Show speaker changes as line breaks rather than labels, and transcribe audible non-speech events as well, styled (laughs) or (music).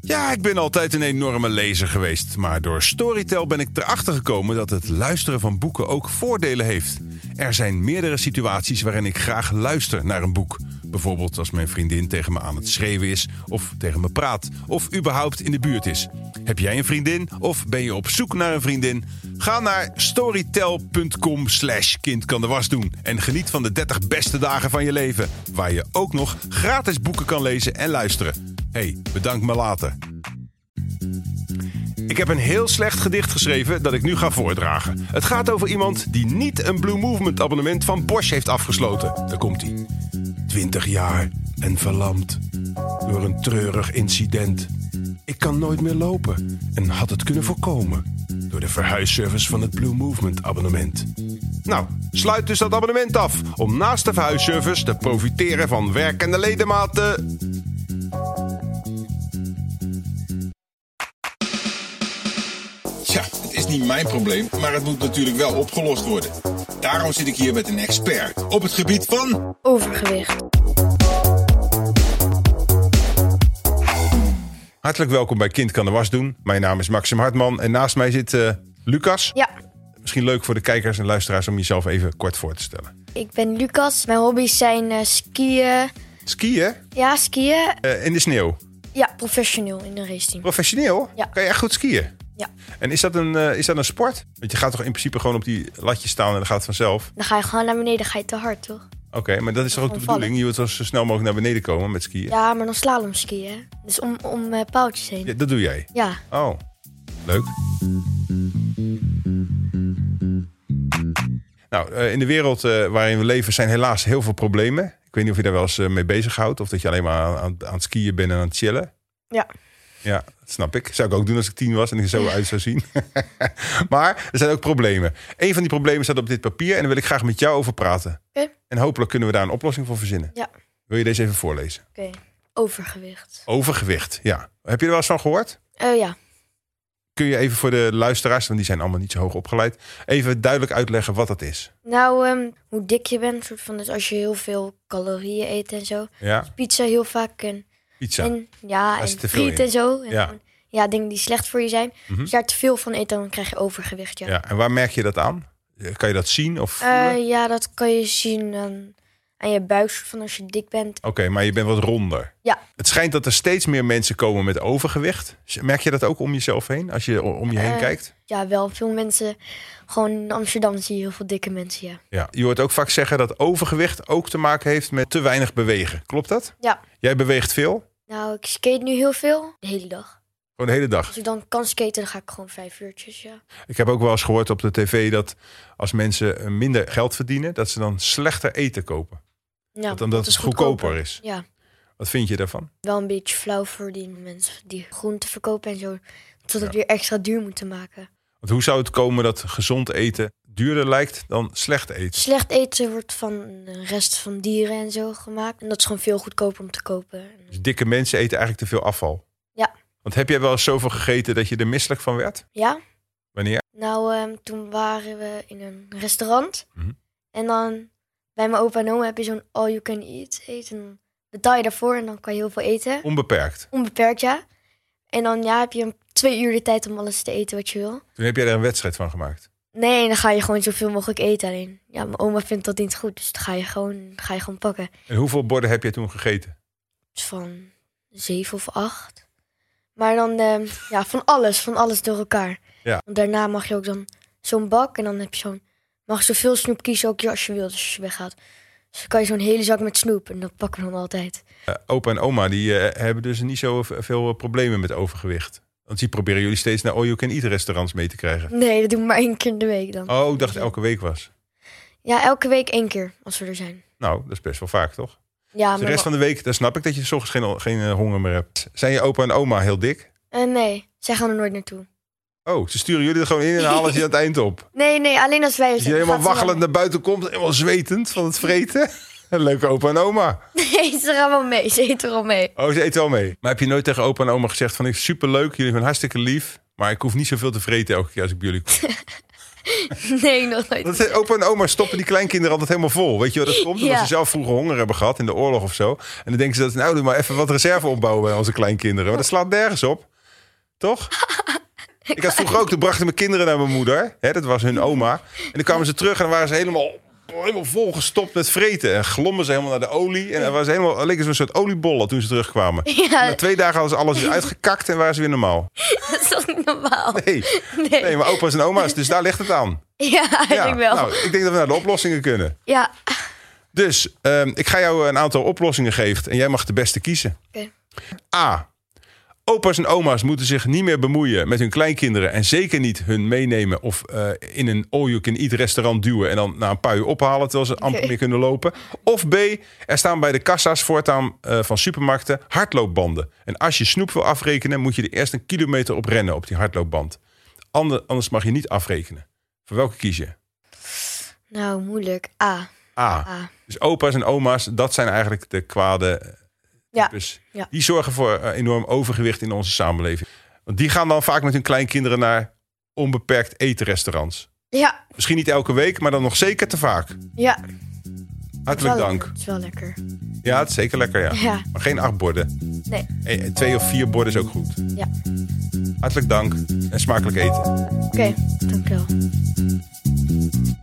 Ja, ik ben altijd een enorme lezer geweest. Maar door Storytel ben ik erachter gekomen dat het luisteren van boeken ook voordelen heeft. Er zijn meerdere situaties waarin ik graag luister naar een boek. Bijvoorbeeld als mijn vriendin tegen me aan het schreeuwen is, of tegen me praat, of überhaupt in de buurt is. Heb jij een vriendin of ben je op zoek naar een vriendin? Ga naar storytel.com slash kind kan de was doen en geniet van de 30 beste dagen van je leven. Waar je ook nog gratis boeken kan lezen en luisteren. hey, bedankt me later. Ik heb een heel slecht gedicht geschreven dat ik nu ga voordragen. Het gaat over iemand die niet een Blue Movement abonnement van Bosch heeft afgesloten. Daar komt hij. 20 jaar en verlamd door een treurig incident. Ik kan nooit meer lopen en had het kunnen voorkomen door de verhuisservice van het Blue Movement abonnement. Nou, sluit dus dat abonnement af om naast de verhuisservice te profiteren van werkende ledematen.
Ja, het is niet mijn probleem, maar het moet natuurlijk wel opgelost worden. Daarom zit ik hier met een expert op het gebied van.
Overgewicht.
Hartelijk welkom bij Kind kan de was doen. Mijn naam is Maxim Hartman en naast mij zit eh, Lucas.
Ja,
Misschien leuk voor de kijkers en luisteraars om jezelf even kort voor te stellen.
ik ben Lucas. Mijn hobby's zijn eh, skiën.
Skiën
Ja, skiën.
eh, in de sneeuw.
Ja, professioneel in een race team.
Professioneel
Ja.
kan je echt goed skiën.
Ja,
En is dat, een, eh, is dat een sport? Want je gaat toch in principe gewoon op die latjes staan en dan gaat het vanzelf.
dan ga je gewoon naar beneden, ga je te hard, toch?
Oké, maar dat is toch ook de
Gewoon vallen.
bedoeling? Je wilt toch zo snel mogelijk naar beneden komen met skiën?
Ja, maar dan slalom skiën. hè? Dus om, om eh, paaltjes heen.
Ja, dat doe jij?
Ja,
Oh, leuk. Nou, eh, in de wereld eh, waarin we leven zijn helaas heel veel problemen. Ik weet niet of je daar wel eens eh, mee bezighoudt. Of dat je alleen maar aan, aan, aan het skiën bent en aan het chillen.
ja.
Ja, dat snap ik. Zou ik ook doen als ik tien was en ik er zo uit zou zien. (laughs) maar er zijn ook problemen. Een van die problemen staat op dit papier en daar wil ik graag met jou over praten.
Oké.
En hopelijk kunnen we daar een oplossing voor verzinnen.
Ja.
Wil je deze even voorlezen?
Oké. Overgewicht.
Overgewicht, ja. Heb je er wel eens van gehoord?
Eh, ja.
Kun je even voor de luisteraars, want die zijn allemaal niet zo hoog opgeleid, even duidelijk uitleggen wat dat is?
Nou, ehm, hoe dik je bent, soort van. Dus als je heel veel calorieën eet en zo.
Ja,
Pizza heel vaak. En
pizza.
En ja,
Daar
en
zit te veel
friet
in.
en zo. En
Ja. Mhm.
gewoon, ja, dingen die slecht voor je zijn. Als je daar te veel van eet, dan krijg je overgewicht. Ja,
Ja, en waar merk je dat aan? Kan je dat zien? Of... voelen?
Eh, ja dat kan je zien aan, aan je buik, soort van als je dik bent.
Oké, maar je bent wat ronder.
Ja,
Het schijnt dat er steeds meer mensen komen met overgewicht. Merk je dat ook om jezelf heen, als je o- om je heen
Eh,
kijkt?
ja, wel veel mensen. Gewoon in Amsterdam zie je heel veel dikke mensen, ja.
Ja. Je hoort ook vaak zeggen dat overgewicht ook te maken heeft met te weinig bewegen. Klopt dat?
Ja,
Jij beweegt veel?
nou, ik skate nu heel veel. De hele dag.
Gewoon de hele dag.
Als ik dan kan skaten, dan ga ik gewoon vijf uurtjes, ja.
Ik heb ook wel eens gehoord op de tv dat als mensen minder geld verdienen, dat ze dan slechter eten kopen.
Ja,
Want omdat
dat
het goedkoper is.
Ja,
Wat vind je daarvan?
wel een beetje flauw voor die mensen die groenten verkopen en zo. Tot het weer extra duur moeten maken.
Want hoe zou het komen dat gezond eten duurder lijkt dan slecht eten?
Slecht eten wordt van eh, resten van dieren en zo gemaakt. En dat is gewoon veel goedkoper om te kopen.
Dus dikke mensen eten eigenlijk te veel afval.
Ja.
Want heb jij wel eens zoveel gegeten dat je er misselijk van werd?
Ja?
Wanneer?
Nou, ehm, toen waren we in een restaurant.
Mhm.
En dan bij mijn opa en oma heb je zo'n all-you-can-eat eten. Dan betaal je daarvoor en dan kan je heel veel eten.
Onbeperkt.
Onbeperkt, ja. En dan ja, heb je een twee uur de tijd om alles te eten wat je wil.
Toen heb jij er een wedstrijd van gemaakt.
Nee, dan ga je gewoon zoveel mogelijk eten. Alleen, ja, mijn oma vindt dat niet goed. Dus dan ga je gewoon, ga je gewoon pakken.
En hoeveel borden heb jij toen gegeten?
Dus van zeven of acht. Maar dan, ehm, ja, van alles, van alles door elkaar.
Ja.
Want daarna mag je ook dan zo'n bak en dan heb je zo'n... Mag je zoveel snoep kiezen ook als je wilt, als je weggaat. Dus dan kan je zo'n hele zak met snoep en dat pakken we dan altijd.
Eh, opa en oma die, eh, hebben dus niet zo v- veel eh, problemen met overgewicht. Want die proberen jullie steeds naar all you can eat restaurants mee te krijgen.
Nee, dat doen we maar één keer in de week dan.
Oh, ik dacht elke week was.
Ja, elke week één keer, als we er zijn.
Nou, dat is best wel vaak, toch?
Ja,
Dus de rest van de week, dan snap ik dat je 's ochtends geen, geen eh, honger meer hebt. Zijn je opa en oma heel dik?
Eh, nee, zij gaan er nooit naartoe.
Oh, ze sturen jullie er gewoon in en halen ze je aan het eind
(laughs)
op.
Nee, nee, alleen als wij er
Als je
zijn,
helemaal
gaat ze
waggelend naar buiten komt, helemaal zwetend van het vreten. (laughs) Leuke opa en oma.
wel- (laughs) Nee, ze gaan wel mee, ze eten wel mee.
Oh, ze eet wel mee. Maar heb je nooit tegen opa en oma gezegd van ik superleuk, jullie zijn hartstikke lief, maar ik hoef niet zoveel te vreten elke keer als ik bij jullie kom.
nee, nog nooit.
Dat zijn opa en oma stoppen die kleinkinderen altijd helemaal vol. Weet je wat dat komt? Omdat
Ja.
ze zelf vroeger honger hebben gehad in de oorlog of zo. En dan denken ze dat, nou doe maar even wat reserve opbouwen bij onze kleinkinderen. Maar dat slaat nergens op.
(laughs)
Toch? Ik had vroeger ook, toen brachten mijn kinderen naar mijn moeder. Hè, dat was hun oma. En dan kwamen ze terug en dan waren ze helemaal, helemaal volgestopt met vreten. En glommen ze helemaal naar de olie. En dan waren ze helemaal, dan leken ze een soort oliebollen toen ze terugkwamen. En Na
(laughs) Ja,
twee dagen hadden ze alles uitgekakt en waren ze weer
(laughs)
normaal.
dat is toch niet normaal?
Nee,
Nee.
nee maar opa's en oma's, dus daar ligt het aan.
Ja, eigenlijk wel.
Nou, ik denk dat we naar de oplossingen kunnen.
Ja,
Dus ehm, ik ga jou een aantal oplossingen geven en jij mag de beste kiezen.
Oké.
A. Opa's en oma's moeten zich niet meer bemoeien met hun kleinkinderen en zeker niet hun meenemen of eh, in een all-you-can-eat restaurant duwen en dan na een paar uur ophalen terwijl ze amper
Oké.
meer kunnen lopen. Of B. Er staan bij de kassa's voortaan eh, van supermarkten hardloopbanden. En als je snoep wil afrekenen, moet je er eerst een kilometer op rennen op die hardloopband. Ander- anders mag je niet afrekenen. Voor welke kies je?
nou moeilijk. A.
A.
A.
Dus opa's en oma's, dat zijn eigenlijk de kwade
Ja.
types.
Ah, ja.
Die zorgen voor eh, enorm overgewicht in onze samenleving. Want die gaan dan vaak met hun kleinkinderen naar onbeperkt etenrestaurants.
Ja,
Misschien niet elke week, maar dan nog zeker te vaak.
ja.
Hartelijk
Wel-
dank.
Het is wel lekker.
Ja, het is zeker lekker, ja.
Ja.
Maar geen acht borden.
Nee,
Eh, eh, Twee of vier borden is ook goed.
ja.
Hartelijk dank en smakelijk eten.
Oké, dank dankjewel.